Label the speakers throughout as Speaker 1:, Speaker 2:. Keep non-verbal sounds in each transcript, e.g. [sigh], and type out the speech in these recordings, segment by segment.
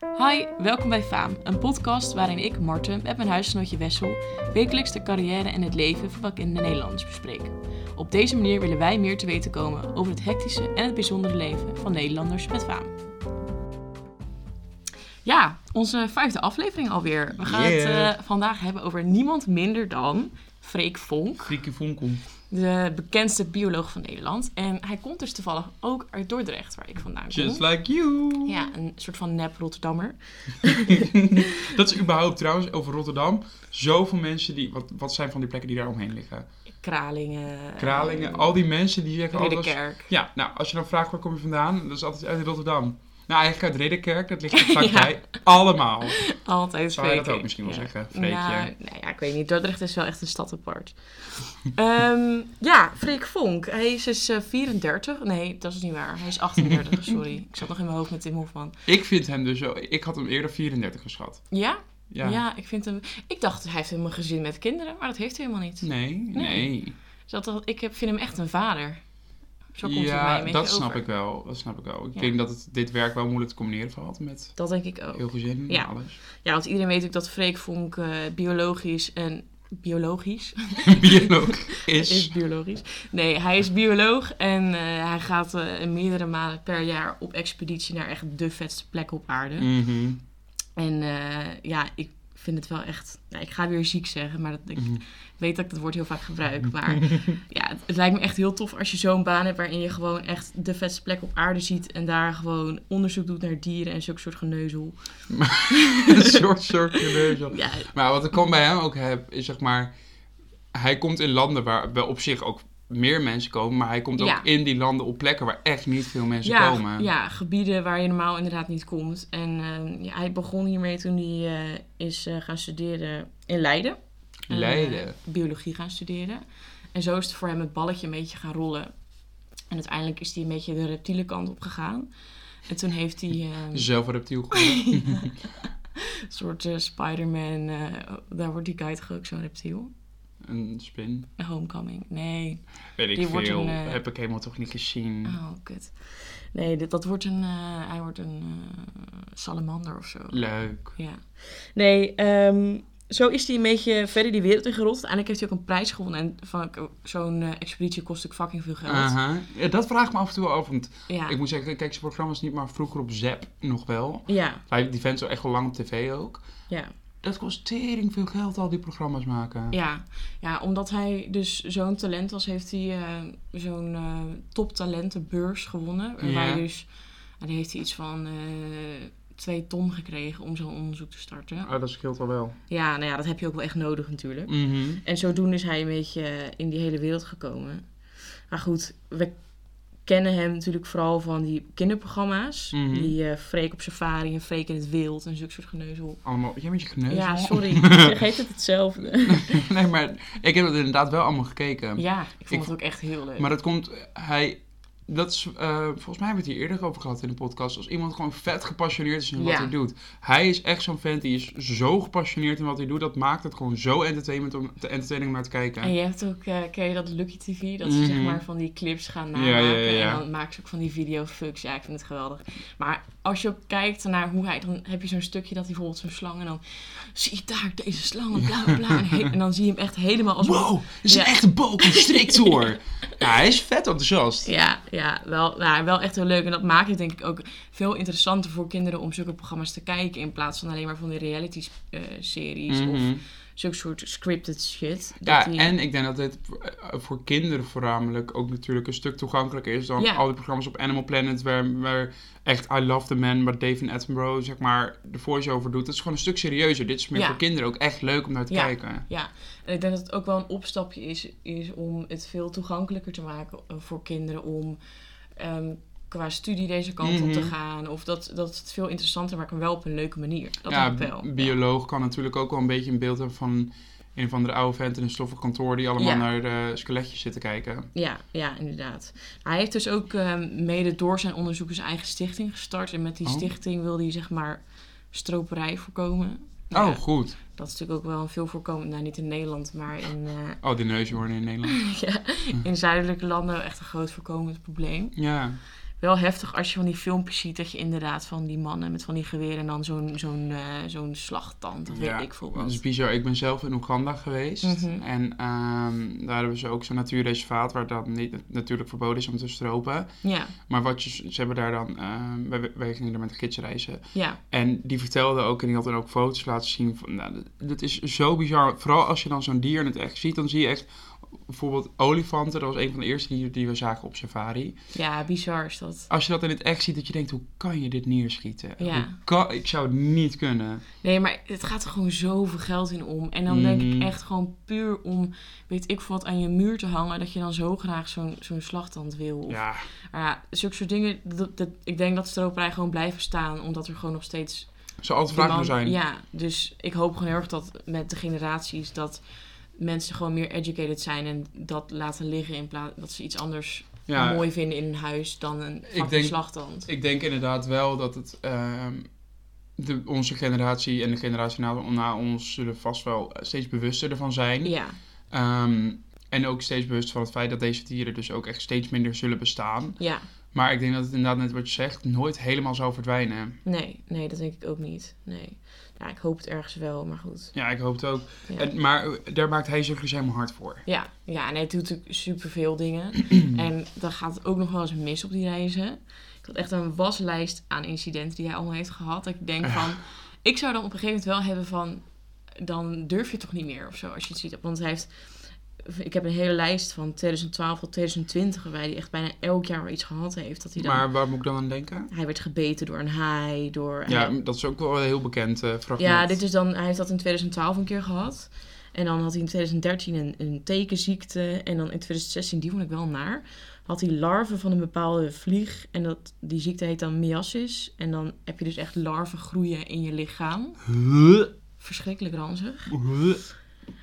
Speaker 1: Hi, welkom bij Faam, een podcast waarin ik, Marten, met mijn huisgenootje Wessel wekelijks de carrière en het leven van bekende Nederlanders bespreek. Op deze manier willen wij meer te weten komen over het hectische en het bijzondere leven van Nederlanders met faam. Ja, onze vijfde aflevering alweer. We gaan
Speaker 2: Yeah.
Speaker 1: het eh, vandaag hebben over niemand minder dan Freek Vonk,
Speaker 2: Frieke Vonkel.
Speaker 1: de bekendste bioloog van Nederland. En hij komt dus toevallig ook uit Dordrecht, waar ik vandaan kom.
Speaker 2: Just like you.
Speaker 1: Ja, een soort van nep Rotterdammer.
Speaker 2: Dat is überhaupt trouwens over Rotterdam. Zoveel mensen die. Wat, wat zijn van die plekken die daar omheen liggen?
Speaker 1: Kralingen. ehm,
Speaker 2: Kralingen, al die mensen die zeggen. alles.
Speaker 1: Ridderkerk.
Speaker 2: ja, nou, als je dan vraagt waar kom je vandaan, dat is altijd uit Rotterdam. Nou, eigenlijk uit Ridderkerk,
Speaker 1: [laughs]
Speaker 2: dat ligt
Speaker 1: Ja.
Speaker 2: er vlakbij. Allemaal.
Speaker 1: Altijd
Speaker 2: Zou jij dat
Speaker 1: Freek.
Speaker 2: ook misschien wel
Speaker 1: Ja.
Speaker 2: zeggen, Freekje?
Speaker 1: Nou, nou ja, ik weet niet. Dordrecht is wel echt een stad apart. [laughs] Ehm, ja, Freek Vonk. Hij is dus eh, 34. Nee, dat is niet waar. Hij is
Speaker 2: [laughs]
Speaker 1: 38, sorry. Ik zat nog in mijn hoofd met Tim Hofman.
Speaker 2: Ik vind hem dus zo. Ik had hem eerder 34 geschat.
Speaker 1: Ja?
Speaker 2: Ja.
Speaker 1: ja? ik vind hem... Ik dacht, hij heeft helemaal een gezin met kinderen, maar dat heeft hij helemaal niet.
Speaker 2: Nee, nee.
Speaker 1: Dus dat, dat- ik heb, vind hem echt een vader. Zo komt het mij
Speaker 2: ja,
Speaker 1: een beetje
Speaker 2: dat snap
Speaker 1: over.
Speaker 2: ik wel. Dat snap ik wel. Ik
Speaker 1: Ja.
Speaker 2: denk dat het, dit werk wel moeilijk te combineren valt met
Speaker 1: Dat denk ik ook.
Speaker 2: heel gezin en
Speaker 1: Ja.
Speaker 2: alles. [laughs]
Speaker 1: Ja, want iedereen weet ook dat Freek Vonk eh, biologisch en... Biologisch? [laughs]
Speaker 2: Bioloog
Speaker 1: Het is biologisch. Nee, hij is bioloog en eh, hij gaat eh, meerdere malen per jaar op expeditie naar echt de vetste plek op aarde.
Speaker 2: Mhm.
Speaker 1: En eh, ja, ik vind het wel echt. Nou, ik ga weer ziek zeggen, maar dat, ik
Speaker 2: Mhm.
Speaker 1: weet dat ik dat woord heel vaak gebruik. Maar ja, het, het lijkt me echt heel tof als je zo'n baan hebt waarin je gewoon echt de vetste plek op aarde ziet en daar gewoon onderzoek doet naar dieren en zulke soort geneuzel.
Speaker 2: [laughs] Een soort circulair.
Speaker 1: Ja,
Speaker 2: Maar wat ik kan bij hem ook heb, is zeg maar... Hij komt in landen waar wel op zich ook meer mensen komen... maar hij komt ook
Speaker 1: Ja.
Speaker 2: in die landen op plekken waar echt niet veel mensen
Speaker 1: ja,
Speaker 2: komen.
Speaker 1: ja, gebieden waar je normaal inderdaad niet komt. En eh, ja, hij begon hiermee toen hij eh, is eh, gaan studeren in Leiden. Eh,
Speaker 2: Leiden.
Speaker 1: biologie gaan studeren. En zo is het voor hem het balletje een beetje gaan rollen. En uiteindelijk is hij een beetje de reptiele kant op gegaan. En toen heeft
Speaker 2: [laughs]
Speaker 1: hij eh,
Speaker 2: Zelf een reptiel geworden.
Speaker 1: een soort eh, Spider-Man, eh, daar wordt die guy toch ook zo'n reptiel?
Speaker 2: Een spin.
Speaker 1: Homecoming, nee.
Speaker 2: Weet ik
Speaker 1: Die wordt
Speaker 2: veel.
Speaker 1: een, eh,
Speaker 2: Heb ik helemaal toch niet gezien.
Speaker 1: Oh, kut. Nee, dit, dat wordt een, eh, hij wordt een eh, salamander of zo.
Speaker 2: Leuk.
Speaker 1: Ja. Nee, ehm, zo is hij een beetje verder die wereld in gerold. Uiteindelijk heeft hij ook een prijs gewonnen. En van zo'n eh, expeditie kost ook fucking veel geld.
Speaker 2: Aha. Ja, dat vraag ik me af en toe wel af. Want
Speaker 1: Ja.
Speaker 2: ik moet zeggen, ik kijk zijn programma's niet, maar vroeger op Zap nog wel.
Speaker 1: ja,
Speaker 2: Hij- Die vent zo echt al lang op tv ook.
Speaker 1: ja,
Speaker 2: Dat kost tering veel geld, al die programma's maken.
Speaker 1: ja. Ja, omdat hij dus zo'n talent was, heeft hij eh, zo'n eh toptalentenbeurs gewonnen.
Speaker 2: Ja.
Speaker 1: Waar hij dus, nou, die heeft hij iets van eh, twee ton gekregen om zo'n onderzoek te starten.
Speaker 2: Ah, dat scheelt al wel.
Speaker 1: Ja, nou ja, dat heb je ook wel echt nodig natuurlijk.
Speaker 2: Mhm.
Speaker 1: En zodoende is hij een beetje eh, in die hele wereld gekomen. Maar goed, we kennen hem natuurlijk vooral van die kinderprogramma's.
Speaker 2: Mhm.
Speaker 1: Die eh Freek op safari en Freek in het wild en zulke soort geneuzel.
Speaker 2: Allemaal, jij bent je geneuzel.
Speaker 1: Ja, sorry. Ik vergeet het hetzelfde.
Speaker 2: [laughs] nee, maar ik heb het inderdaad wel allemaal gekeken.
Speaker 1: ja, ik vond
Speaker 2: Ik-
Speaker 1: het ook echt heel leuk.
Speaker 2: Maar dat komt, hij, dat is, eh, volgens mij hebben we het hier eerder over gehad in de podcast. Als iemand gewoon vet gepassioneerd is in wat
Speaker 1: Ja.
Speaker 2: hij doet. Hij is echt zo'n vent, die is zo gepassioneerd in wat hij doet. Dat maakt het gewoon zo entertainment om, te entertaining om naar te kijken.
Speaker 1: En je hebt ook, eh, ken je dat Lucky TV? Dat
Speaker 2: Mhm.
Speaker 1: ze zeg maar van die clips gaan
Speaker 2: Ja,
Speaker 1: namaken.
Speaker 2: ja, ja.
Speaker 1: En dan maken ze ook van die videofucks. Ja, ik vind het geweldig. Maar als je ook kijkt naar hoe hij... Dan heb je zo'n stukje dat hij bijvoorbeeld zo'n slang... En dan zie je daar deze slang, en bla, bla, bla. En, he- en dan zie je hem echt helemaal als...
Speaker 2: Wow, dat is
Speaker 1: Ja.
Speaker 2: een echte boa constrictor.
Speaker 1: [laughs]
Speaker 2: ja, hij is vet enthousiast.
Speaker 1: Ja, ja wel, nou, wel echt heel leuk. En dat maakt het denk ik ook veel interessanter voor kinderen om zulke programma's te kijken. In plaats van alleen maar van die reality eh, series
Speaker 2: Mhm.
Speaker 1: of zulke soort scripted shit. Dat
Speaker 2: Ja,
Speaker 1: die-
Speaker 2: en ik denk dat dit eh, voor kinderen voornamelijk ook natuurlijk een stuk toegankelijker is dan
Speaker 1: Ja.
Speaker 2: al die programma's op Animal Planet, waar, waar echt I Love the Man, waar David Attenborough zeg maar de voice-over doet. Dat is gewoon een stuk serieuzer. Dit is meer
Speaker 1: Ja.
Speaker 2: voor kinderen ook echt leuk om naar te
Speaker 1: Ja.
Speaker 2: kijken.
Speaker 1: Ja, en ik denk dat het ook wel een opstapje is, is om het veel toegankelijker te maken eh, voor kinderen om ehm, qua studie deze kant op te
Speaker 2: Mhm.
Speaker 1: gaan. Of dat, dat het veel interessanter maakt, maar wel op een leuke manier. Dat
Speaker 2: ja,
Speaker 1: denk ik wel.
Speaker 2: bi- bioloog kan natuurlijk ook wel een beetje een beeld hebben van een van de oude vent in een stoffig kantoor die allemaal
Speaker 1: Ja.
Speaker 2: naar de skeletjes zitten kijken.
Speaker 1: Ja, ja, inderdaad. Hij heeft dus ook ehm, mede door zijn onderzoek zijn eigen stichting gestart. En met die
Speaker 2: Oh.
Speaker 1: stichting wil hij zeg maar stroperij voorkomen. Nou
Speaker 2: Oh,
Speaker 1: Ja,
Speaker 2: goed.
Speaker 1: dat is natuurlijk ook wel een veel voorkomend, nou niet in Nederland, maar in, eh, [laughs]
Speaker 2: Oh, die neushoorn in Nederland.
Speaker 1: ja, in zuidelijke landen echt een groot voorkomend probleem.
Speaker 2: Ja.
Speaker 1: wel heftig als je van die filmpjes ziet dat je inderdaad van die mannen met van die geweren en dan zo'n zo'n eh, zo'n slagtand of weet ik veel wat.
Speaker 2: Dat is bizar. Ik ben zelf in Oeganda geweest.
Speaker 1: Mhm.
Speaker 2: En ehm, daar hebben ze ook zo'n natuurreservaat waar dat niet, natuurlijk verboden is om te stropen.
Speaker 1: Ja,
Speaker 2: Maar wat je, ze hebben daar dan, ehm, wij, wij gingen er met de gids reizen.
Speaker 1: ja,
Speaker 2: En die vertelde ook, en die had dan ook foto's laten zien. Van, nou, dat- dat is zo bizar. Vooral als je dan zo'n dier in het echt ziet, dan zie je echt bijvoorbeeld olifanten. Dat was een van de eerste dieren die we zagen op safari.
Speaker 1: ja, bizar is dat.
Speaker 2: Als je dat in het echt ziet, dat je denkt, hoe kan je dit neerschieten?
Speaker 1: Ja.
Speaker 2: Hoe kan- ik zou het niet kunnen.
Speaker 1: Nee, maar het gaat er gewoon zoveel geld in om. En dan denk ik
Speaker 2: Mhm.
Speaker 1: echt gewoon puur om, weet ik veel wat, aan je muur te hangen. Dat je dan zo graag zo'n zo'n slagtand wil. Of,
Speaker 2: Ja,
Speaker 1: Maar ja, zulke soort dingen. Dat, dat, ik denk dat stroperij gewoon blijven staan. Omdat er gewoon nog steeds...
Speaker 2: zou altijd vragen
Speaker 1: demand-
Speaker 2: zijn.
Speaker 1: Ja, dus ik hoop gewoon heel erg dat met de generaties dat mensen gewoon meer educated zijn. En dat laten liggen in plaats dat ze iets anders
Speaker 2: Ja,
Speaker 1: mooi vinden in een huis dan een fucking
Speaker 2: denk-
Speaker 1: slagtand.
Speaker 2: Ik denk inderdaad wel dat het. ehm, de, onze generatie en de generatie na, na ons zullen vast wel eh, steeds bewuster ervan zijn.
Speaker 1: Ja,
Speaker 2: Ehm, en ook steeds bewust van het feit dat deze dieren dus ook echt steeds minder zullen bestaan.
Speaker 1: ja.
Speaker 2: Maar ik denk dat het inderdaad, net wat je zegt, nooit helemaal zal verdwijnen.
Speaker 1: Nee, nee, dat denk ik ook niet. Nee. Ja, ik hoop het ergens wel, maar goed.
Speaker 2: Ja, ik hoop het ook.
Speaker 1: Ja.
Speaker 2: En, maar eh, daar maakt hij zich dus helemaal hard voor.
Speaker 1: Ja, ja, nee, het doet natuurlijk superveel
Speaker 2: [clears throat]
Speaker 1: dingen. en dan gaat het ook nog wel eens mis op die reizen. Ik had echt een waslijst aan incidenten die hij allemaal heeft gehad. Dat ik denk van, ik zou dan op een gegeven moment wel hebben van, dan durf je toch niet meer of zo als je het ziet. Want hij heeft, ik heb een hele lijst van 2012 tot 2020 waarbij hij echt bijna elk jaar wel iets gehad heeft. Dat hij dan,
Speaker 2: Maar waar moet ik dan aan denken?
Speaker 1: hij werd gebeten door een haai, door...
Speaker 2: Ja, dat is ook wel een heel bekend eh, fragment.
Speaker 1: Ja, dit is dan, hij heeft dat in 2012 een keer gehad. En dan had hij in 2013 een, een tekenziekte. En dan in 2016, die vond ik wel naar. Had hij larven van een bepaalde vlieg. En dat, die ziekte heet dan miassis. En dan heb je dus echt larven groeien in je lichaam.
Speaker 2: Huh?
Speaker 1: Verschrikkelijk ranzig.
Speaker 2: Huh?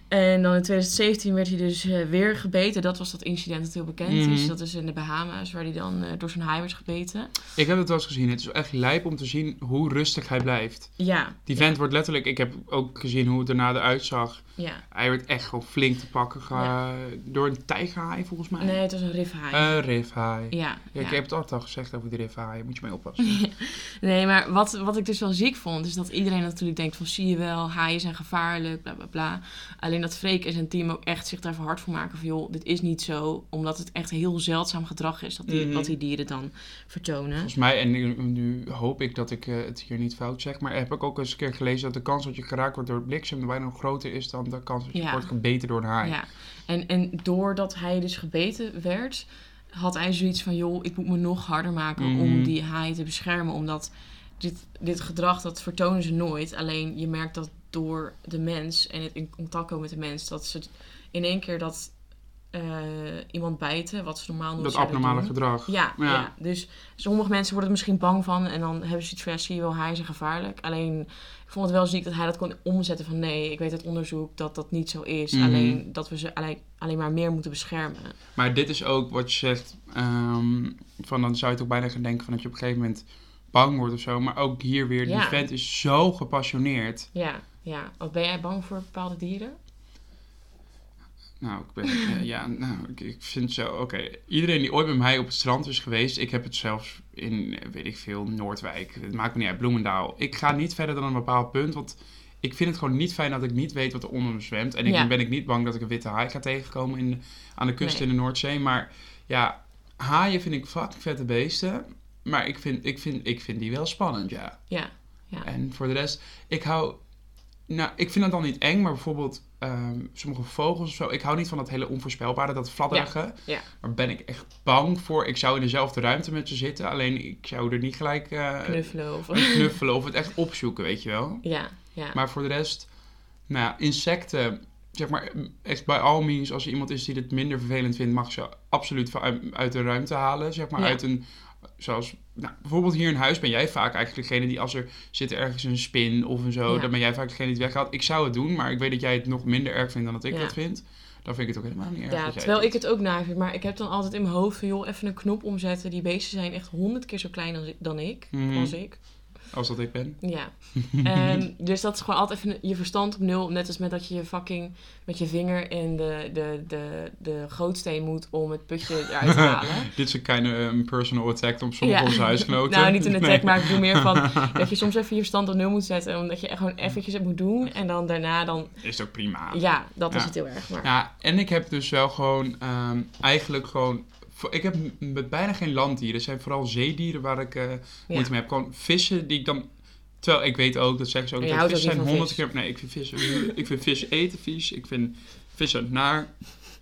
Speaker 1: En dan in 2017 werd hij dus eh, weer gebeten. Dat was dat incident dat heel bekend is.
Speaker 2: Mhm.
Speaker 1: Dat is in de Bahama's, waar hij dan eh, door zijn haai werd gebeten.
Speaker 2: Ik heb het wel eens gezien. Het is echt lijp om te zien hoe rustig hij blijft.
Speaker 1: Ja,
Speaker 2: Die vent wordt letterlijk... Ik heb ook gezien hoe het er na eruit zag.
Speaker 1: ja.
Speaker 2: Hij werd echt gewoon flink te pakken ge- door een tijgerhaai, volgens mij.
Speaker 1: Nee, het was een rifhaai.
Speaker 2: Een rifhaai.
Speaker 1: ja,
Speaker 2: Ah. Ja, ik heb het altijd al gezegd over die rifhaai. Moet je mee oppassen.
Speaker 1: Nee, maar wat, wat ik dus wel ziek vond, is dat iedereen natuurlijk denkt van zie je wel, haaien zijn gevaarlijk, bla bla bla. Alleen dat Freek en zijn team ook echt zich daarvoor hard voor maken van joh, dit is niet zo. Omdat het echt heel zeldzaam gedrag is dat die,
Speaker 2: Mhm.
Speaker 1: wat die dieren dan vertonen.
Speaker 2: Volgens mij, en nu, nu hoop ik dat ik eh, het hier niet fout zeg, maar heb ik ook eens een keer gelezen dat de kans dat je geraakt wordt door bliksem bijna nog groter is dan de kans dat je
Speaker 1: Ja.
Speaker 2: wordt gebeten door een haai.
Speaker 1: Ja. En, en doordat hij dus gebeten werd, had hij zoiets van joh, ik moet me nog harder maken om
Speaker 2: Mhm.
Speaker 1: die haaien te beschermen. Omdat dit, dit gedrag, dat vertonen ze nooit. Alleen je merkt dat door de mens en het in contact komen met de mens, dat ze in één keer dat eh, iemand bijten, wat ze normaal nooit
Speaker 2: dat
Speaker 1: zouden
Speaker 2: abnormale
Speaker 1: doen.
Speaker 2: gedrag.
Speaker 1: Ja, ja.
Speaker 2: Ja.
Speaker 1: dus sommige mensen worden er misschien bang van en dan hebben ze iets van, ja, zie je wel, hij is gevaarlijk. Alleen, ik vond het wel ziek dat hij dat kon omzetten van, nee, ik weet uit onderzoek dat dat niet zo is.
Speaker 2: Mhm.
Speaker 1: Alleen dat we ze alleen, alleen maar meer moeten beschermen.
Speaker 2: Maar dit is ook wat je zegt, ehm, van dan zou je toch bijna gaan denken van dat je op een gegeven moment bang wordt of zo. Maar ook hier weer,
Speaker 1: Ja.
Speaker 2: die vent is zo gepassioneerd.
Speaker 1: Ja, ja. Wat ben jij bang voor bepaalde dieren?
Speaker 2: Nou, ik ben, eh, ja, nou, ik, ik vind zo, oké. Iedereen die ooit met mij op het strand is geweest, ik heb het zelfs in, eh, weet ik veel, Noordwijk, het maakt me niet uit, Bloemendaal. Ik ga niet verder dan een bepaald punt, want ik vind het gewoon niet fijn dat ik niet weet wat er onder me zwemt. En ik
Speaker 1: Ja.
Speaker 2: ben ik niet bang dat ik een witte haai ga tegenkomen in, aan de kust
Speaker 1: Nee.
Speaker 2: in de Noordzee. Maar ja, haaien vind ik fucking vette beesten, maar ik vind, ik vind, ik vind die wel spannend, ja.
Speaker 1: Ja, ja.
Speaker 2: En voor de rest, ik hou. Nou, ik vind dat dan niet eng, maar bijvoorbeeld ehm, sommige vogels of zo. Ik hou niet van dat hele onvoorspelbare, dat fladderige.
Speaker 1: ja.
Speaker 2: Daar ben ik echt bang voor. Ik zou in dezelfde ruimte met ze zitten, alleen ik zou er niet gelijk eh,
Speaker 1: Knuffelen of...
Speaker 2: mee knuffelen of het echt opzoeken, weet je wel.
Speaker 1: [laughs] Ja, ja.
Speaker 2: Maar voor de rest, nou ja, insecten. Zeg maar, echt bij all means, als er iemand is die dit minder vervelend vindt, mag ze absoluut van- uit de ruimte halen. Zeg maar,
Speaker 1: Ja.
Speaker 2: uit een, zoals, nou, bijvoorbeeld hier in huis ben jij vaak eigenlijk degene die als er zit ergens een spin of een zo,
Speaker 1: Ja.
Speaker 2: dan ben jij vaak degene die het weghaalt. Ik zou het doen, maar ik weet dat jij het nog minder erg vindt dan dat ik
Speaker 1: Ja.
Speaker 2: dat vind. Dan vind ik het ook helemaal niet erg.
Speaker 1: Ja,
Speaker 2: dat jij
Speaker 1: terwijl
Speaker 2: het
Speaker 1: ik het ook na vind, maar ik heb dan altijd in mijn hoofd van, joh, even een knop omzetten. Die beesten zijn echt honderd keer zo klein dan, dan ik,
Speaker 2: Mhm.
Speaker 1: als ik.
Speaker 2: als dat ik ben. [laughs]
Speaker 1: Ja. Ehm, dus dat is gewoon altijd even je verstand op nul. Net als met dat je je fucking met je vinger in de, de, de, de gootsteen moet om het putje eruit te halen.
Speaker 2: [laughs] Dit is een kind of um, personal attack op sommige
Speaker 1: Ja.
Speaker 2: onze huisgenoten.
Speaker 1: [laughs] Nou, niet een attack,
Speaker 2: Nee.
Speaker 1: maar ik bedoel meer
Speaker 2: [laughs]
Speaker 1: van dat je soms even je verstand op nul moet zetten. Omdat je echt gewoon eventjes het moet doen. En dan daarna dan,
Speaker 2: Is ook prima.
Speaker 1: ja, dat is
Speaker 2: Ja.
Speaker 1: het heel erg. Maar,
Speaker 2: Ja, en ik heb dus wel gewoon ehm, eigenlijk gewoon. voor- Ik heb m- met bijna geen landdieren. Er zijn vooral zeedieren waar ik eh moeite mee heb. Gewoon vissen die ik dan. Terwijl ik weet ook, dat zeggen ze ook.
Speaker 1: En je
Speaker 2: dat
Speaker 1: houdt
Speaker 2: vissen
Speaker 1: ook
Speaker 2: zijn
Speaker 1: niet van
Speaker 2: honderd keer. Nee, ik vind vis. ik vind vis eten vies. Ik vind vissen naar.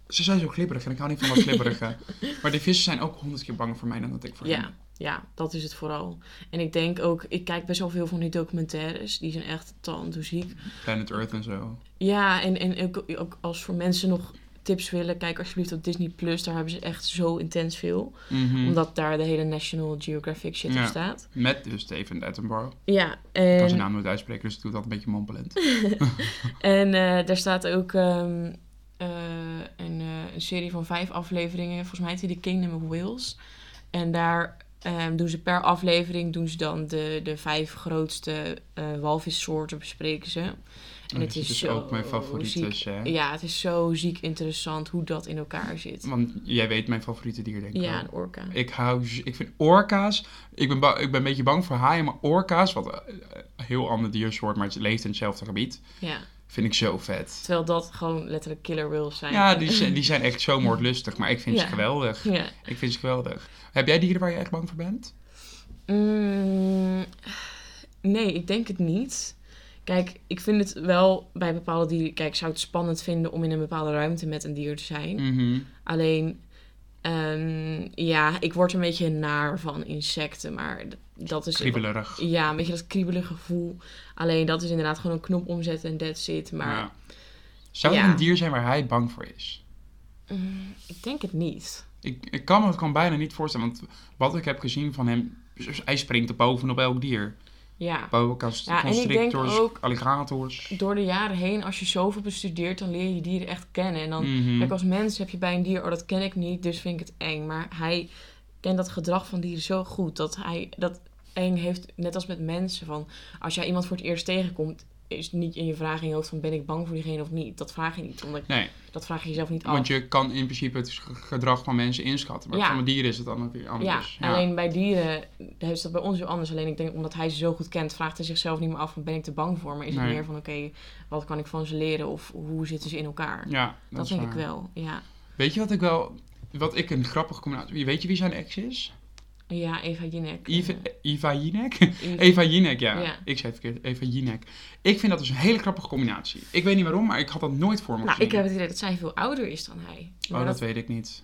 Speaker 2: Ze zijn zo glibberig en ik hou niet van dat
Speaker 1: [laughs]
Speaker 2: glibberige. maar die vissen zijn ook honderd keer bang voor mij dan dat ik voor hen.
Speaker 1: Ja, ja, dat is het vooral. En ik denk ook, ik kijk best wel veel van die documentaires. Die zijn echt tandoeziek.
Speaker 2: Planet Earth en zo.
Speaker 1: Ja, en, en ook, ook als voor mensen nog tips willen, kijk alsjeblieft op Disney Plus. Daar hebben ze echt zo intens veel.
Speaker 2: Mhm.
Speaker 1: Omdat daar de hele National Geographic shit
Speaker 2: Ja.
Speaker 1: op staat.
Speaker 2: Met dus Steven Attenborough. Ik
Speaker 1: Ja,
Speaker 2: kan zijn
Speaker 1: en,
Speaker 2: naam nooit uitspreken, dus ik doe dat een beetje mompelend.
Speaker 1: en eh, daar staat ook ehm, eh, een, eh, een serie van vijf afleveringen. Volgens mij heet die The Kingdom of Wales. En daar ehm, doen ze per aflevering doen ze dan de, de vijf grootste eh, walvissoorten bespreken ze. En het
Speaker 2: Dus
Speaker 1: is,
Speaker 2: het
Speaker 1: zo
Speaker 2: ook mijn favoriete.
Speaker 1: ziek.
Speaker 2: dus, eh,
Speaker 1: Ja, het is zo ziek interessant hoe dat in elkaar zit.
Speaker 2: Want jij weet mijn favoriete dier, denk ik.
Speaker 1: Ja,
Speaker 2: wel.
Speaker 1: een orka.
Speaker 2: Ik, hou, z- ik vind orka's. Ik ben, ba- ik ben een beetje bang voor haaien, maar orka's, wat eh, eh, een heel ander diersoort, maar het leeft in hetzelfde gebied,
Speaker 1: Ja.
Speaker 2: vind ik zo vet.
Speaker 1: Terwijl dat gewoon letterlijk killer whales zijn.
Speaker 2: Ja, die, zijn- die zijn echt zo moordlustig, maar ik vind ze
Speaker 1: Ja.
Speaker 2: geweldig.
Speaker 1: Ja.
Speaker 2: Ik vind ze geweldig. Heb jij dieren waar je echt bang voor bent?
Speaker 1: Mm, nee, ik denk het niet. Kijk, ik vind het wel bij bepaalde dieren... Kijk, ik zou het spannend vinden om in een bepaalde ruimte met een dier te zijn.
Speaker 2: Mhm.
Speaker 1: Alleen, ehm, ja, ik word een beetje naar van insecten. Maar d- dat is...
Speaker 2: Kriebelerig.
Speaker 1: Ja, een beetje dat kriebelige gevoel. Alleen, dat is inderdaad gewoon een knop omzetten en that's it. Maar
Speaker 2: Ja. Zou er
Speaker 1: Ja.
Speaker 2: een dier zijn waar hij bang voor is?
Speaker 1: mm, ik denk het niet.
Speaker 2: Ik, ik kan me het gewoon bijna niet voorstellen, want wat ik heb gezien van hem, hij springt er bovenop elk dier.
Speaker 1: Ja.
Speaker 2: Boa
Speaker 1: Ja, en ik denk
Speaker 2: constrictors,
Speaker 1: ook-
Speaker 2: alligators.
Speaker 1: door de jaren heen, als je zoveel bestudeert, dan leer je dieren echt kennen. En dan,
Speaker 2: Mhm.
Speaker 1: kijk, als mens heb je bij een dier, oh dat ken ik niet, dus vind ik het eng. Maar hij kent dat gedrag van dieren zo goed dat hij dat eng heeft, net als met mensen. Van als jij iemand voor het eerst tegenkomt, is het niet in je vraag in je hoofd van ben ik bang voor diegene of niet. Dat vraag je niet, omdat
Speaker 2: Nee,
Speaker 1: dat vraag je jezelf niet af.
Speaker 2: want je kan in principe het ge- gedrag van mensen inschatten. Maar
Speaker 1: Oh. Ja.
Speaker 2: van dieren is het dan weer
Speaker 1: ja,
Speaker 2: anders. Ja.
Speaker 1: alleen bij dieren is dat bij ons heel anders. Alleen ik denk omdat hij ze zo goed kent, vraagt hij zichzelf niet meer af van ben ik te bang voor. Maar is het
Speaker 2: Nee.
Speaker 1: meer van oké, wat kan ik van ze leren of hoe zitten ze in elkaar?
Speaker 2: Ja,
Speaker 1: Dat,
Speaker 2: is
Speaker 1: denk ik
Speaker 2: waar.
Speaker 1: wel, ja.
Speaker 2: Weet je wat ik wel... Wat ik een grappige combinatie... Weet je wie zijn ex is?
Speaker 1: Ja, Eva Jinek.
Speaker 2: Eva, Eva Jinek?
Speaker 1: Eh, Eva-
Speaker 2: [laughs] Eva Jinek, ja.
Speaker 1: Ja.
Speaker 2: Ik zei het verkeerd. Eva Jinek. Ik vind dat dus een hele grappige combinatie. Ik weet niet waarom, maar ik had dat nooit voor me
Speaker 1: Nou,
Speaker 2: gezien.
Speaker 1: ik heb het idee dat zij veel ouder is dan hij.
Speaker 2: Oh,
Speaker 1: Maar dat,
Speaker 2: dat weet ik niet.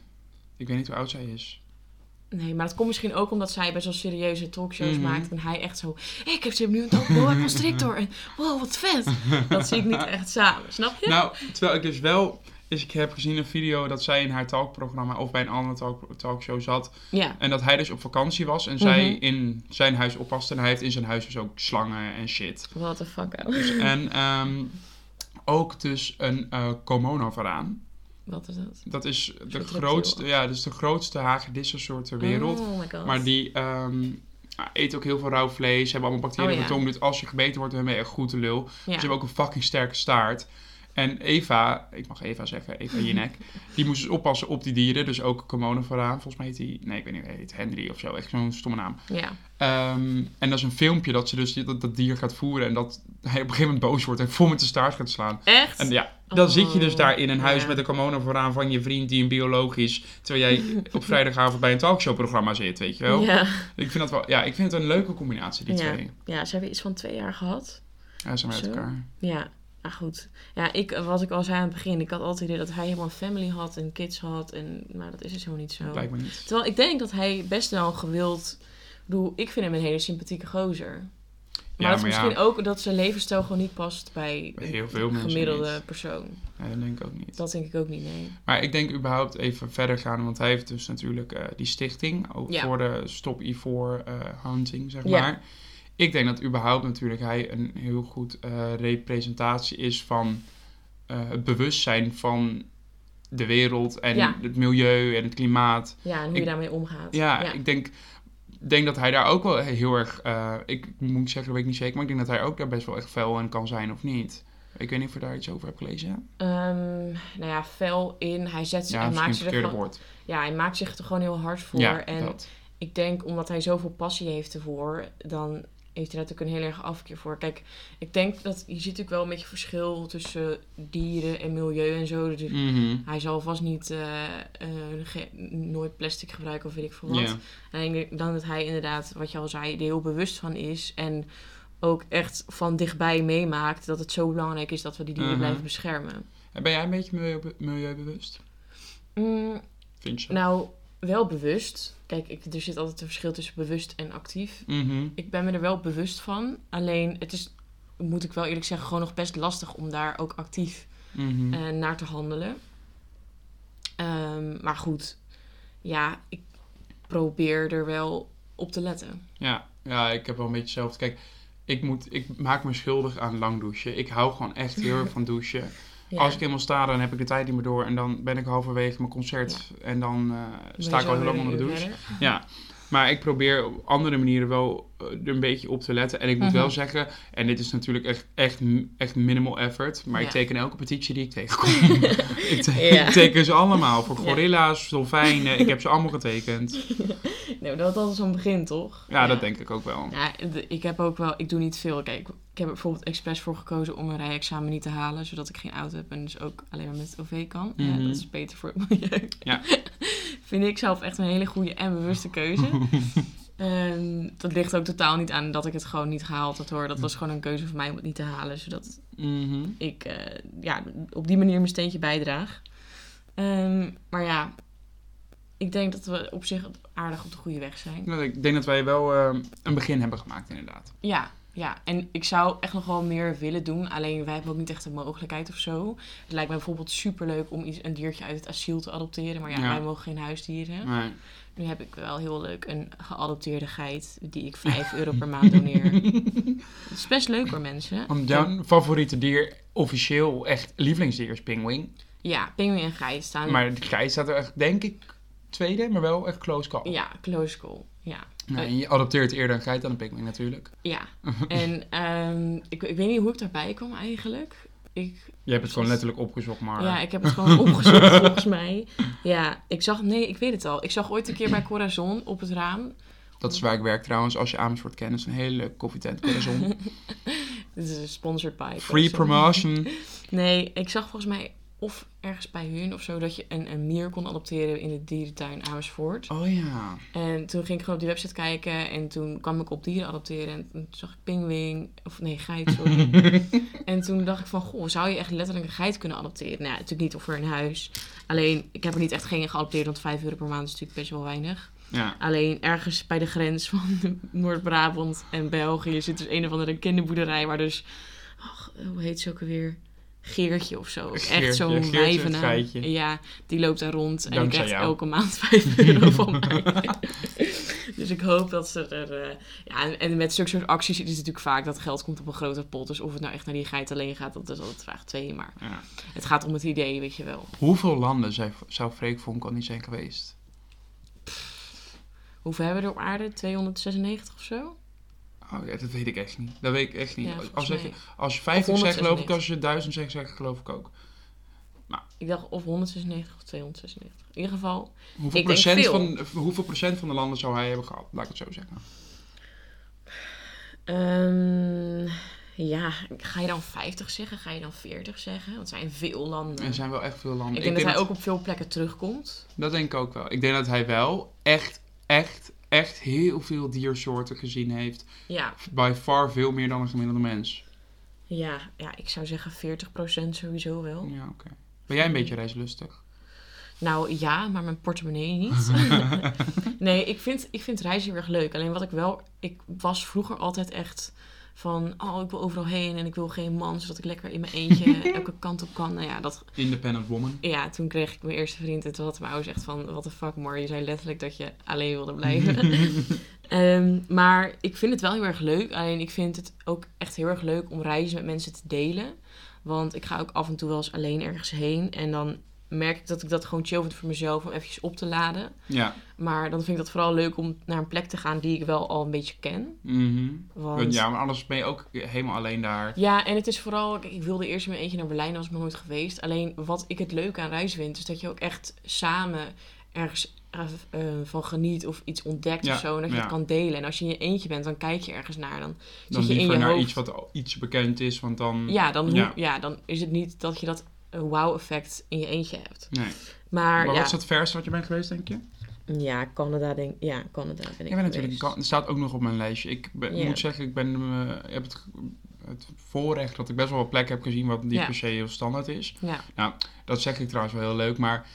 Speaker 2: Ik weet niet hoe oud zij is. [laughs]
Speaker 1: nee, maar dat komt misschien ook omdat zij best wel serieuze talkshows
Speaker 2: Mhm.
Speaker 1: maakt. En hij echt zo, "Hey, ik heb ze nu een talk- boa constrictor. En wow, wat vet.
Speaker 2: [laughs]
Speaker 1: Dat zie ik niet echt samen, snap je?
Speaker 2: Nou, terwijl ik dus wel eens ik heb gezien een video dat zij in haar talkprogramma of bij een andere talk, talkshow zat.
Speaker 1: Ja,
Speaker 2: En dat hij dus op vakantie was en zij
Speaker 1: Mhm.
Speaker 2: in zijn huis oppaste. En hij heeft in zijn huis dus ook slangen en shit.
Speaker 1: what the fuck out.
Speaker 2: En ehm, ook dus een eh komono varaan.
Speaker 1: Wat is dat?
Speaker 2: Dat is de
Speaker 1: reptiel.
Speaker 2: grootste, ja, dus de grootste hagedissensoort ter wereld.
Speaker 1: Oh my god.
Speaker 2: Maar die ehm eten ook heel veel rauw vlees, hebben allemaal
Speaker 1: Oh,
Speaker 2: bacteriën op
Speaker 1: ja.
Speaker 2: hun tong. Dus als je gebeten wordt, dan ben je echt goed de lul.
Speaker 1: ja.
Speaker 2: Ze hebben ook een fucking sterke staart. En Eva, ik mag Eva
Speaker 1: [laughs]
Speaker 2: zeggen, Eva Jinek, die moest dus oppassen op die dieren. Dus ook Komonen vooraan, volgens mij heet die, nee ik weet niet hoe hij heet, Henry of zo, echt zo'n stomme naam.
Speaker 1: ja.
Speaker 2: Ehm, en dat is een filmpje dat ze dus die- dat, dat dier gaat voeren en dat hij op een gegeven moment boos wordt en [laughs] vol met de staart gaat slaan.
Speaker 1: Echt?
Speaker 2: En ja, dan
Speaker 1: Oh,
Speaker 2: zit je dus daar in een huis
Speaker 1: ja.
Speaker 2: met een kimono vooraan van je vriend die een biologisch, terwijl jij
Speaker 1: [laughs]
Speaker 2: op vrijdagavond bij een talkshowprogramma zit, weet je wel.
Speaker 1: ja.
Speaker 2: Ik vind dat wel, ja, ik vind het een leuke combinatie, die
Speaker 1: Ja.
Speaker 2: twee.
Speaker 1: ja, ze hebben iets van twee jaar gehad.
Speaker 2: Ja, ze zijn uit
Speaker 1: Zo.
Speaker 2: elkaar.
Speaker 1: Ja, nou goed. Ja, ik, wat ik al zei aan het begin, ik had altijd het idee dat hij helemaal een family had en kids had. En, maar dat is dus helemaal niet zo.
Speaker 2: Blijkt me niet.
Speaker 1: Terwijl ik denk dat hij best wel een gewild... Ik bedoel, ik vind hem een hele sympathieke gozer. Maar
Speaker 2: Ja,
Speaker 1: dat is
Speaker 2: maar ja.
Speaker 1: misschien ook dat zijn levensstijl gewoon niet past bij
Speaker 2: Bij heel veel
Speaker 1: de
Speaker 2: mensen
Speaker 1: gemiddelde
Speaker 2: niet.
Speaker 1: persoon.
Speaker 2: Nee, dat denk ik ook niet.
Speaker 1: Dat denk ik ook niet, nee.
Speaker 2: Maar ik denk überhaupt even verder gaan, want hij heeft dus natuurlijk eh, die stichting ook
Speaker 1: Ja.
Speaker 2: voor de Stop Ivoor eh, Hunting, zeg
Speaker 1: Ja.
Speaker 2: maar. Ik denk dat überhaupt natuurlijk hij een heel goed eh, representatie is van eh, het bewustzijn van de wereld en
Speaker 1: Ja.
Speaker 2: het milieu en het klimaat.
Speaker 1: Ja, en hoe
Speaker 2: Ik-
Speaker 1: je daarmee omgaat.
Speaker 2: Ja,
Speaker 1: ja.
Speaker 2: ik denk denk dat hij daar ook wel heel erg... eh, ik moet zeggen, dat weet ik niet zeker, maar ik denk dat hij ook daar best wel echt fel in kan zijn of niet. Ik weet niet of je daar iets over hebt gelezen.
Speaker 1: Ehm, nou ja, fel in. Hij zet ze
Speaker 2: Ja,
Speaker 1: en
Speaker 2: misschien
Speaker 1: maakt
Speaker 2: het
Speaker 1: zich er
Speaker 2: verkeerde
Speaker 1: gewoon,
Speaker 2: woord.
Speaker 1: ja, hij maakt zich er gewoon heel hard voor.
Speaker 2: Ja,
Speaker 1: en
Speaker 2: dat.
Speaker 1: ik denk omdat hij zoveel passie heeft ervoor, dan heeft hij natuurlijk een heel erg afkeer voor. Kijk, ik denk dat je ziet natuurlijk wel een beetje verschil tussen dieren en milieu en zo. Dus
Speaker 2: Mhm.
Speaker 1: Hij zal vast niet eh, eh, ge- nooit plastic gebruiken of weet ik veel wat.
Speaker 2: Ja.
Speaker 1: En ik denk dan dat hij inderdaad, wat je al zei, er heel bewust van is. En ook echt van dichtbij meemaakt dat het zo belangrijk is dat we die dieren
Speaker 2: Mhm.
Speaker 1: blijven beschermen.
Speaker 2: En Ben jij een beetje milieu- milieubewust?
Speaker 1: Mm,
Speaker 2: Vind je?
Speaker 1: nou, wel bewust. Kijk, ik, er zit altijd een verschil tussen bewust en actief.
Speaker 2: Mhm.
Speaker 1: Ik ben me er wel bewust van. Alleen het is, moet ik wel eerlijk zeggen, gewoon nog best lastig om daar ook actief
Speaker 2: Mhm.
Speaker 1: eh, naar te handelen. Ehm, maar goed, ja, ik probeer er wel op te letten.
Speaker 2: Ja, ja, ik heb wel een beetje hetzelfde. Kijk, ik, moet, ik maak me schuldig aan lang douchen. Ik hou gewoon echt heel erg van douchen.
Speaker 1: [laughs] Ja.
Speaker 2: Als ik eenmaal sta, dan heb ik de tijd niet meer door. En dan ben ik halverwege mijn concert. En dan eh,
Speaker 1: Ben
Speaker 2: sta ik
Speaker 1: je
Speaker 2: al
Speaker 1: zo
Speaker 2: heel lang
Speaker 1: weer
Speaker 2: onder de
Speaker 1: een uur
Speaker 2: douche.
Speaker 1: verder?
Speaker 2: Ja. Maar ik probeer op andere manieren wel eh, er een beetje op te letten. En ik moet
Speaker 1: Mhm.
Speaker 2: wel zeggen, en dit is natuurlijk echt, echt, echt minimal effort. Maar
Speaker 1: Ja.
Speaker 2: ik teken elke petitie die ik
Speaker 1: [laughs]
Speaker 2: tegenkom. ik, te-
Speaker 1: Ja.
Speaker 2: ik teken ze allemaal. Voor
Speaker 1: Ja.
Speaker 2: gorilla's, dolfijnen. Ik heb ze allemaal getekend.
Speaker 1: Nee, maar dat, dat is een begin, toch?
Speaker 2: Ja, dat denk ik ook wel.
Speaker 1: Ja, d- ik heb ook wel, ik doe niet veel. Kijk, ik heb er bijvoorbeeld expres voor gekozen om een rijexamen niet te halen, zodat ik geen auto heb en dus ook alleen maar met het OV kan. Ja,
Speaker 2: Mhm.
Speaker 1: dat is beter voor het milieu.
Speaker 2: Ja.
Speaker 1: [laughs] Vind ik zelf echt een hele goede en bewuste
Speaker 2: [laughs]
Speaker 1: keuze. Ehm, dat ligt ook totaal niet aan dat ik het gewoon niet gehaald had hoor. Dat was gewoon een keuze voor mij om het niet te halen, zodat
Speaker 2: Mhm.
Speaker 1: ik eh, ja, op die manier mijn steentje bijdraag. Ehm, maar ja, ik denk dat we op zich aardig op de goede weg zijn.
Speaker 2: Nou, Ik denk dat wij wel ehm, een begin hebben gemaakt, inderdaad.
Speaker 1: Ja, ja, en ik zou echt nog wel meer willen doen. Alleen wij hebben ook niet echt de mogelijkheid of zo. Het lijkt mij bijvoorbeeld superleuk om iets, een diertje uit het asiel te adopteren. Maar ja,
Speaker 2: Ja.
Speaker 1: wij mogen geen huisdieren.
Speaker 2: Maar
Speaker 1: Nu heb ik wel heel leuk een geadopteerde geit die ik 5 euro per maand
Speaker 2: [laughs]
Speaker 1: doneer. Het is best leuk hoor mensen.
Speaker 2: want jouw favoriete dier, officieel echt lievelingsdier, is pinguïn.
Speaker 1: Oh Ja, pinguïn en geit staan.
Speaker 2: Maar de grijs staat er echt, denk ik, tweede, maar wel echt close call.
Speaker 1: Ja, close call. Ja.
Speaker 2: Nou, en je adopteert eerder een geit dan een pinguïn natuurlijk. [laughs]
Speaker 1: Ja, en ehm, ik, ik weet niet hoe ik daarbij kwam eigenlijk. Ik,
Speaker 2: Je hebt het gewoon letterlijk opgezocht, maar...
Speaker 1: ja, ik heb het gewoon opgezocht
Speaker 2: [laughs]
Speaker 1: volgens mij. Ja, ik zag, nee, ik weet het al. Ik zag ooit een keer bij Corazon op het raam.
Speaker 2: Dat is waar ik werk trouwens, als je Amersfoort kent. Dat is een hele leuke
Speaker 1: [laughs]
Speaker 2: koffietent, Corazon.
Speaker 1: Dit is een sponsored by. Corazon.
Speaker 2: Free promotion.
Speaker 1: Nee, ik zag volgens mij of ergens bij hun of zo dat je een, een mier kon adopteren in de dierentuin Amersfoort.
Speaker 2: Oh ja.
Speaker 1: En toen ging ik gewoon op die website kijken en toen kwam ik op dieren adopteren en toen zag ik pinguïn, of nee, geit, sorry.
Speaker 2: [laughs]
Speaker 1: en toen dacht ik van, goh, zou je echt letterlijk een geit kunnen adopteren? Nou, ja, natuurlijk niet of voor een huis. Alleen, ik heb er niet echt geen geadopteerd, want 5 euro per maand is natuurlijk best wel weinig.
Speaker 2: Ja.
Speaker 1: Alleen, ergens bij de grens van [laughs] Noord-Brabant en België zit dus een of andere kinderboerderij waar dus, ach, hoe heet ze ook alweer? Geertje of zo.
Speaker 2: Geertje,
Speaker 1: echt zo'n
Speaker 2: Geertje het
Speaker 1: wijvenaam.
Speaker 2: geitje.
Speaker 1: Ja, die loopt daar rond. En ik
Speaker 2: Dankzij
Speaker 1: krijg
Speaker 2: jou.
Speaker 1: elke maand [laughs] 5 euro
Speaker 2: [laughs]
Speaker 1: van mij. dus ik hoop dat ze er... eh, ja, en, en met zulke soort acties is het natuurlijk vaak dat geld komt op een grote pot. Dus of het nou echt naar die geit alleen gaat, dat is altijd vraag 2. Maar
Speaker 2: Ja.
Speaker 1: het gaat om het idee, weet je wel.
Speaker 2: Hoeveel landen zou, zou Freek Vonk al niet zijn geweest?
Speaker 1: Hoeveel hebben we er op aarde? 296 of zo?
Speaker 2: Oh ja, dat weet ik echt niet. Dat weet ik echt niet.
Speaker 1: Ja,
Speaker 2: als,
Speaker 1: volgens
Speaker 2: ik-
Speaker 1: mij.
Speaker 2: als je 50 zegt, geloof ik.
Speaker 1: 196.
Speaker 2: Als je 1000 zegt, zeg ik, geloof ik ook.
Speaker 1: Ik dacht of 196 of 296. In ieder geval,
Speaker 2: Hoeveel,
Speaker 1: Ik denk
Speaker 2: procent
Speaker 1: veel.
Speaker 2: van, hoeveel procent van de landen zou hij hebben gehad? Laat ik het zo zeggen.
Speaker 1: ehm, ja, ga je dan 50 zeggen? Ga je dan 40 zeggen? Want het zijn veel landen.
Speaker 2: Er zijn wel echt veel landen.
Speaker 1: Ik denk dat hij ook op veel plekken terugkomt.
Speaker 2: dat denk ik ook wel. Ik denk dat hij wel echt, echt, echt heel veel diersoorten gezien heeft.
Speaker 1: Ja,
Speaker 2: By far veel meer dan een gemiddelde mens.
Speaker 1: ja, ja ik zou zeggen 40% sowieso wel.
Speaker 2: Ja, oké. Ben jij een beetje reislustig?
Speaker 1: Nou ja, maar mijn portemonnee [laughs] niet. nee, ik vind, ik vind reizen heel erg leuk. Alleen wat ik wel... Ik was vroeger altijd echt van... Oh, ik wil overal heen en ik wil geen man... zodat ik lekker in mijn eentje [laughs] elke kant op kan. Nou ja, dat,
Speaker 2: Independent woman.
Speaker 1: ja, toen kreeg ik mijn eerste vriend... en toen had mijn ouders echt van... What the fuck, Mar? Je zei letterlijk dat je alleen wilde blijven. Ehm, maar ik vind het wel heel erg leuk. Alleen ik vind het ook echt heel erg leuk om reizen met mensen te delen. Want ik ga ook af en toe wel eens alleen ergens heen. En dan merk ik dat ik dat gewoon chill vind voor mezelf om eventjes op te laden.
Speaker 2: Ja.
Speaker 1: Maar dan vind ik dat vooral leuk om naar een plek te gaan die ik wel al een beetje ken.
Speaker 2: Mhm.
Speaker 1: Want ja.
Speaker 2: Ja, maar anders ben je ook helemaal alleen daar.
Speaker 1: en het is vooral, kijk, ik wilde eerst in mijn eentje naar Berlijn, dat was ik nog nooit geweest. Alleen wat ik het leuk aan reizen vind, is dat je ook echt samen ergens eh, eh, van geniet of iets ontdekt
Speaker 2: Ja,
Speaker 1: of zo. En dat je
Speaker 2: ja.
Speaker 1: het kan delen. En als je in je eentje bent, dan kijk je ergens naar. Dan,
Speaker 2: Dan
Speaker 1: zit je in
Speaker 2: liever
Speaker 1: je
Speaker 2: naar
Speaker 1: hoofd.
Speaker 2: iets wat al- iets bekend is, want dan...
Speaker 1: ja, dan hoe-
Speaker 2: Ja.
Speaker 1: ja. dan is het niet dat je dat eh, wauw-effect in je eentje hebt.
Speaker 2: Nee.
Speaker 1: Maar,
Speaker 2: Maar wat
Speaker 1: ja,
Speaker 2: is het verste wat je bent geweest, denk je?
Speaker 1: ja, Canada denk ja, Canada ben ik
Speaker 2: Ik ben natuurlijk...
Speaker 1: geweest.
Speaker 2: Het staat ook nog op mijn lijstje. Ik ben-
Speaker 1: Ja.
Speaker 2: moet zeggen, ik ben, eh, heb het, het voorrecht dat ik best wel wat plekken heb gezien... wat niet
Speaker 1: Ja.
Speaker 2: per se heel standaard is.
Speaker 1: Ja.
Speaker 2: Dat zeg ik trouwens wel heel leuk, maar...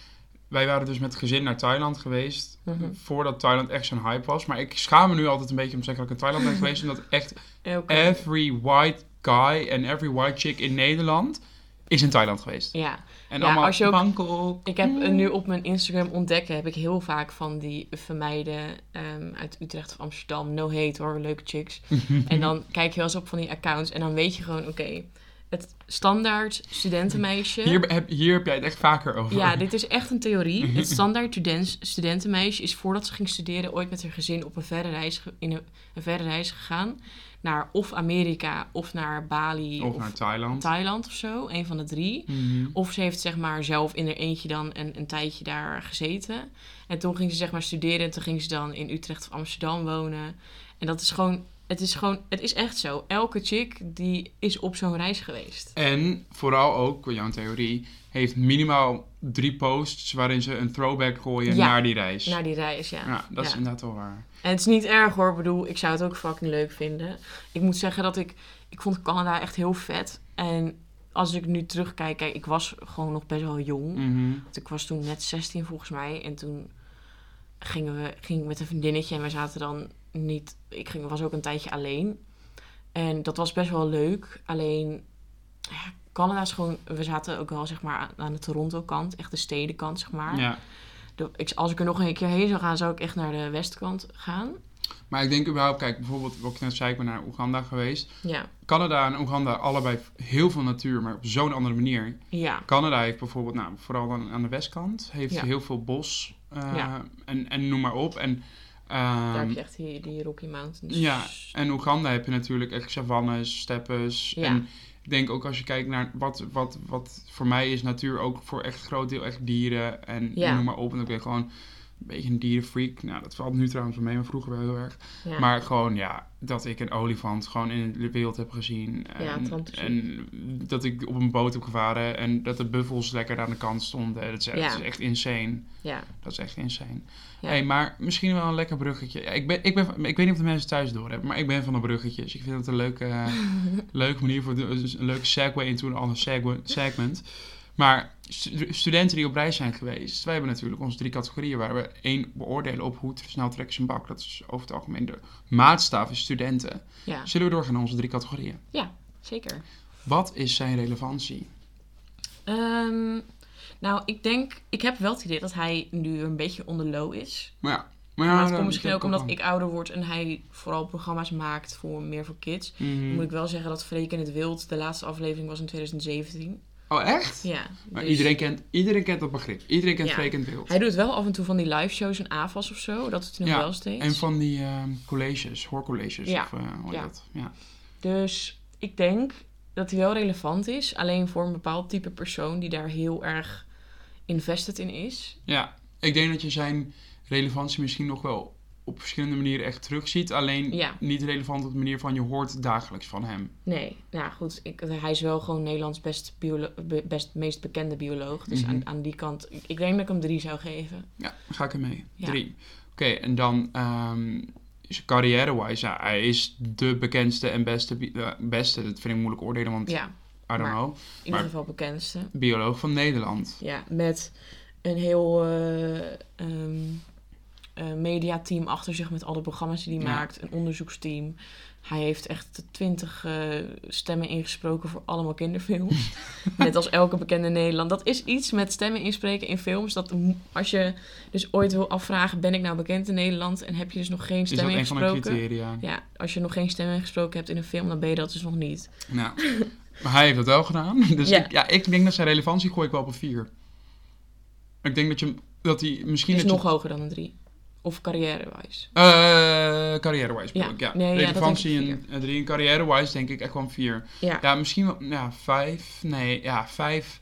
Speaker 2: Wij waren dus met het gezin naar Thailand geweest.
Speaker 1: Mhm.
Speaker 2: Voordat Thailand echt zo'n hype was. Maar ik schaam me nu altijd een beetje om te zeggen dat ik in Thailand
Speaker 1: [laughs]
Speaker 2: ben geweest. Omdat echt
Speaker 1: Elke-
Speaker 2: Eh. every white guy en every white chick in Nederland is in Thailand geweest.
Speaker 1: Ja,
Speaker 2: En
Speaker 1: Ja,
Speaker 2: allemaal
Speaker 1: als je ook-
Speaker 2: Bangkok.
Speaker 1: ik heb eh, nu op mijn Instagram ontdekken, heb ik heel vaak van die vermijden ehm, uit Utrecht of Amsterdam, no hate hoor, leuke
Speaker 2: [laughs]
Speaker 1: chicks. en dan kijk je wel eens op van die accounts en dan weet je gewoon, oké, het standaard studentenmeisje.
Speaker 2: Hier Mhm. heb, hier heb jij het echt vaker over.
Speaker 1: Ja, dit is echt een theorie. Het standaard student, studentenmeisje is voordat ze ging studeren ooit met haar gezin op een verre reis, ge- in een, een verre reis gegaan. Naar of Amerika of naar Bali
Speaker 2: Of
Speaker 1: of,
Speaker 2: naar Thailand.
Speaker 1: Thailand of zo. Een van de drie.
Speaker 2: Mhm.
Speaker 1: Of ze heeft zeg maar zelf in haar eentje dan een, een tijdje daar gezeten. En toen ging ze zeg maar studeren en toen ging ze dan in Utrecht of Amsterdam wonen. En dat is gewoon, het is gewoon, het is echt zo. Elke chick die is op zo'n reis geweest.
Speaker 2: En vooral ook, voor jouw theorie, heeft minimaal drie posts waarin ze een throwback gooien
Speaker 1: Ja,
Speaker 2: naar die reis.
Speaker 1: Naar die reis, ja.
Speaker 2: Ja, dat is
Speaker 1: Ja.
Speaker 2: inderdaad wel waar.
Speaker 1: En het is niet erg hoor, ik bedoel, ik zou het ook fucking leuk vinden. Ik moet zeggen dat ik, ik vond Canada echt heel vet. En als ik nu terugkijk, kijk, ik was gewoon nog best wel jong.
Speaker 2: Mhm.
Speaker 1: Want ik was toen net 16 volgens mij. En toen gingen we, ging ik met een vriendinnetje en wij zaten dan niet. Ik ging, was ook een tijdje alleen. En dat was best wel leuk. Alleen ja, Canada is gewoon. We zaten ook wel zeg maar aan, aan de Toronto-kant, echt de stedenkant zeg maar.
Speaker 2: Ja.
Speaker 1: De- ik, als ik er nog een keer heen zou gaan, zou ik echt naar de westkant gaan.
Speaker 2: Maar ik denk überhaupt, kijk, bijvoorbeeld, wat ik net zei, ik ben naar Oeganda geweest.
Speaker 1: Ja,
Speaker 2: Canada en Oeganda, allebei heel veel natuur, maar op zo'n andere manier.
Speaker 1: ja,
Speaker 2: Canada heeft bijvoorbeeld, nou, vooral aan, aan de westkant, heeft
Speaker 1: Ja.
Speaker 2: heel veel bos eh,
Speaker 1: Ja.
Speaker 2: en, en noem maar op. En, ehm,
Speaker 1: daar heb je echt die, die Rocky Mountains.
Speaker 2: Ja, en Oeganda heb je natuurlijk echt savannes, steppes.
Speaker 1: Ja.
Speaker 2: En ik denk ook als je kijkt naar wat, wat, wat voor mij is natuur ook voor echt groot deel echt dieren en
Speaker 1: Ja.
Speaker 2: noem maar op. En ik ben gewoon een beetje een dierenfreak. Nou, dat valt nu trouwens voor mij, maar vroeger wel heel erg.
Speaker 1: Ja.
Speaker 2: Maar gewoon, ja, dat ik een olifant gewoon in de wereld heb gezien. En,
Speaker 1: Ja, fantastisch.
Speaker 2: en dat ik op een boot heb gevaren en dat de buffels lekker aan de kant stonden. Dat is,
Speaker 1: Ja.
Speaker 2: dat is echt insane.
Speaker 1: ja.
Speaker 2: Dat is echt insane.
Speaker 1: Ja.
Speaker 2: Hey, maar misschien wel een lekker bruggetje. Ja, ik, ben, ik, ben, van- ik weet niet of de mensen thuis doorhebben, maar ik ben van de bruggetjes. Ik vind het een leuke,
Speaker 1: [laughs]
Speaker 2: eh, leuke manier voor de- dus een leuke segue into een ander segue- segment. Maar stu- studenten die op reis zijn geweest, wij hebben natuurlijk onze drie categorieën waar we één beoordelen op hoe snel trekken ze een bak. Dat is over het algemeen de maatstaf is studenten.
Speaker 1: ja,
Speaker 2: Zullen we doorgaan naar onze drie categorieën?
Speaker 1: zeker.
Speaker 2: Wat is zijn relevantie?
Speaker 1: Ehm, nou, ik denk, ik heb wel het idee dat hij nu een beetje onder low is.
Speaker 2: Maar ja, maar ja,
Speaker 1: maar het
Speaker 2: dat-
Speaker 1: komt misschien
Speaker 2: dat
Speaker 1: ook omdat
Speaker 2: wel.
Speaker 1: ik ouder word en hij vooral programma's maakt voor meer voor kids.
Speaker 2: Mhm.
Speaker 1: Moet ik wel zeggen dat Freek in het Wild, de laatste aflevering was in 2017.
Speaker 2: Oh, echt?
Speaker 1: Ja.
Speaker 2: Maar
Speaker 1: dus-
Speaker 2: iedereen, kent, iedereen kent dat begrip. Iedereen kent
Speaker 1: Ja.
Speaker 2: fake en wild.
Speaker 1: Hij doet wel af en toe van die live shows en AFAS of zo. Dat doet hij nog
Speaker 2: Ja,
Speaker 1: wel steeds.
Speaker 2: En van die ehm, colleges, hoorcolleges.
Speaker 1: Ja.
Speaker 2: Of, eh, hoe heet
Speaker 1: Ja.
Speaker 2: dat? Ja.
Speaker 1: Dus ik denk dat hij wel relevant is. Alleen voor een bepaald type persoon die daar heel erg invested in is.
Speaker 2: ja, ik denk dat je zijn relevantie misschien nog wel op verschillende manieren echt terugziet. Alleen
Speaker 1: Ja.
Speaker 2: niet relevant op de manier van je hoort dagelijks van hem.
Speaker 1: Nee, nou goed, ik, hij is wel gewoon Nederlands best, biolo- be- best meest bekende bioloog. Dus
Speaker 2: Mhm.
Speaker 1: aan, aan die kant, ik, ik denk dat ik hem drie zou geven.
Speaker 2: Ja, ga ik ermee.
Speaker 1: Ja.
Speaker 2: Drie. Oké, en dan ehm, is carrière-wise, ja, hij is de bekendste en beste, bi- eh, beste, dat vind ik moeilijk oordelen, want
Speaker 1: Ja,
Speaker 2: I don't
Speaker 1: maar-
Speaker 2: know,
Speaker 1: in ieder
Speaker 2: Maar-
Speaker 1: geval bekendste.
Speaker 2: bioloog van Nederland.
Speaker 1: Ja, met een heel eh, ehm, eh, mediateam achter zich met alle programma's die hij
Speaker 2: Ja.
Speaker 1: maakt. Een onderzoeksteam. Hij heeft echt twintig eh, stemmen ingesproken voor allemaal
Speaker 2: [laughs]
Speaker 1: kinderfilms. Net als elke bekende in Nederland. Dat is iets met stemmen inspreken in films. Dat mo- als je dus ooit wil afvragen, ben ik nou bekend in Nederland? En heb je dus nog geen
Speaker 2: Is dat
Speaker 1: stemmen
Speaker 2: een van de
Speaker 1: ingesproken?
Speaker 2: criteria?
Speaker 1: Ja, als je nog geen stemmen ingesproken hebt in een film, dan ben je dat dus nog niet.
Speaker 2: Nou, maar hij heeft dat wel gedaan. [laughs] Dus
Speaker 1: Ja.
Speaker 2: Ik, ja, ik denk dat zijn relevantie gooi ik wel op een vier. Maar ik denk dat je hem- dat hij misschien...
Speaker 1: is
Speaker 2: dat
Speaker 1: nog hoger dan een 3. Of carrière-wise.
Speaker 2: je, Eh, carrière-wise bedoel
Speaker 1: Ja.
Speaker 2: ik, ja.
Speaker 1: Nee, ja, dat
Speaker 2: Relevantie
Speaker 1: denk ik
Speaker 2: een een drie. En carrière-wise denk ik echt gewoon vier.
Speaker 1: Ja.
Speaker 2: Ja, misschien wel... Ja, vijf. Nee, ja, vijf.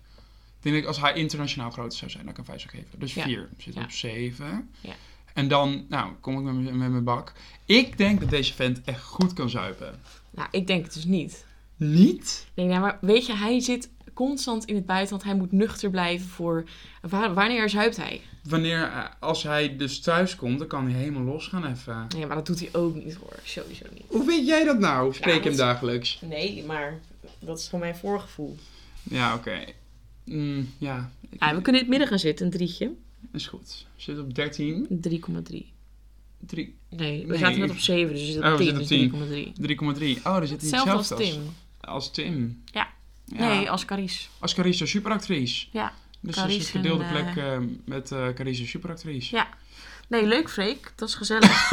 Speaker 2: Ik denk dat als hij internationaal groter zou zijn, dan kan ik een vijf zou geven. Dus
Speaker 1: Ja.
Speaker 2: vier. Zit
Speaker 1: Ja.
Speaker 2: op zeven.
Speaker 1: Ja.
Speaker 2: En dan, nou, kom ik met, mijn- met mijn bak. Ik denk dat deze vent echt goed kan zuipen.
Speaker 1: Nou, ik denk het dus niet.
Speaker 2: Niet?
Speaker 1: Nee, nou, maar weet je, hij zit constant in het buitenland. Hij moet nuchter blijven voor... Wa- wanneer zuipt hij?
Speaker 2: Wanneer, eh, als hij dus thuis komt, dan kan hij helemaal losgaan even.
Speaker 1: Nee, maar dat doet hij ook niet hoor. Sowieso niet.
Speaker 2: Hoe weet jij dat nou? Spreek
Speaker 1: Ja,
Speaker 2: hem
Speaker 1: want-
Speaker 2: dagelijks?
Speaker 1: Nee, maar dat is gewoon mijn voorgevoel.
Speaker 2: Ja, oké. Mm, ja, ik-
Speaker 1: Ja, we kunnen in het midden gaan zitten, een drietje.
Speaker 2: is goed. We zitten op 13.
Speaker 1: Een 3,3.
Speaker 2: 3,
Speaker 1: Nee, we
Speaker 2: Nee,
Speaker 1: zaten net
Speaker 2: ik-
Speaker 1: op 7, dus we zitten
Speaker 2: Oh,
Speaker 1: op
Speaker 2: we
Speaker 1: 10,
Speaker 2: zitten
Speaker 1: dus
Speaker 2: op 10.
Speaker 1: 3,3.
Speaker 2: 3,3. Oh, daar zit hij
Speaker 1: Hetzelfde als
Speaker 2: hetzelfde
Speaker 1: Tim.
Speaker 2: als, als Tim.
Speaker 1: Ja.
Speaker 2: Ja.
Speaker 1: Nee, als Caries.
Speaker 2: Als Carissa superactrice.
Speaker 1: Ja.
Speaker 2: Dus dat is
Speaker 1: Carice
Speaker 2: een gedeelde
Speaker 1: en,
Speaker 2: plek eh, met eh Carissa superactrice.
Speaker 1: Ja. Nee, leuk Freek. Dat is gezellig.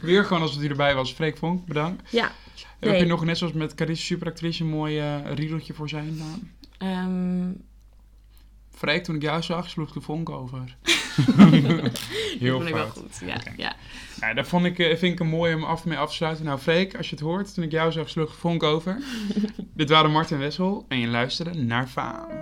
Speaker 2: Weer gewoon alsof hij erbij was. Freek Vonk, bedankt. Eh,
Speaker 1: ja.
Speaker 2: Heb
Speaker 1: Nee.
Speaker 2: je nog net zoals met Carissa superactrice een mooi eh, riedeltje voor zijn naam?
Speaker 1: Ehm,
Speaker 2: Freek, toen ik jou zag, sloeg de vonk
Speaker 1: [laughs]
Speaker 2: over. [laughs] Heel
Speaker 1: dat vond ik wel
Speaker 2: fout.
Speaker 1: goed. Ja,
Speaker 2: Oké.
Speaker 1: ja.
Speaker 2: Ja, daar vond ik, eh, vind ik een mooi om af mee af te sluiten. Nou, Freek, als je het hoort, toen ik jou zag, sloeg de vonk over. Dit waren Martin Wessel en je luisterde naar Faam.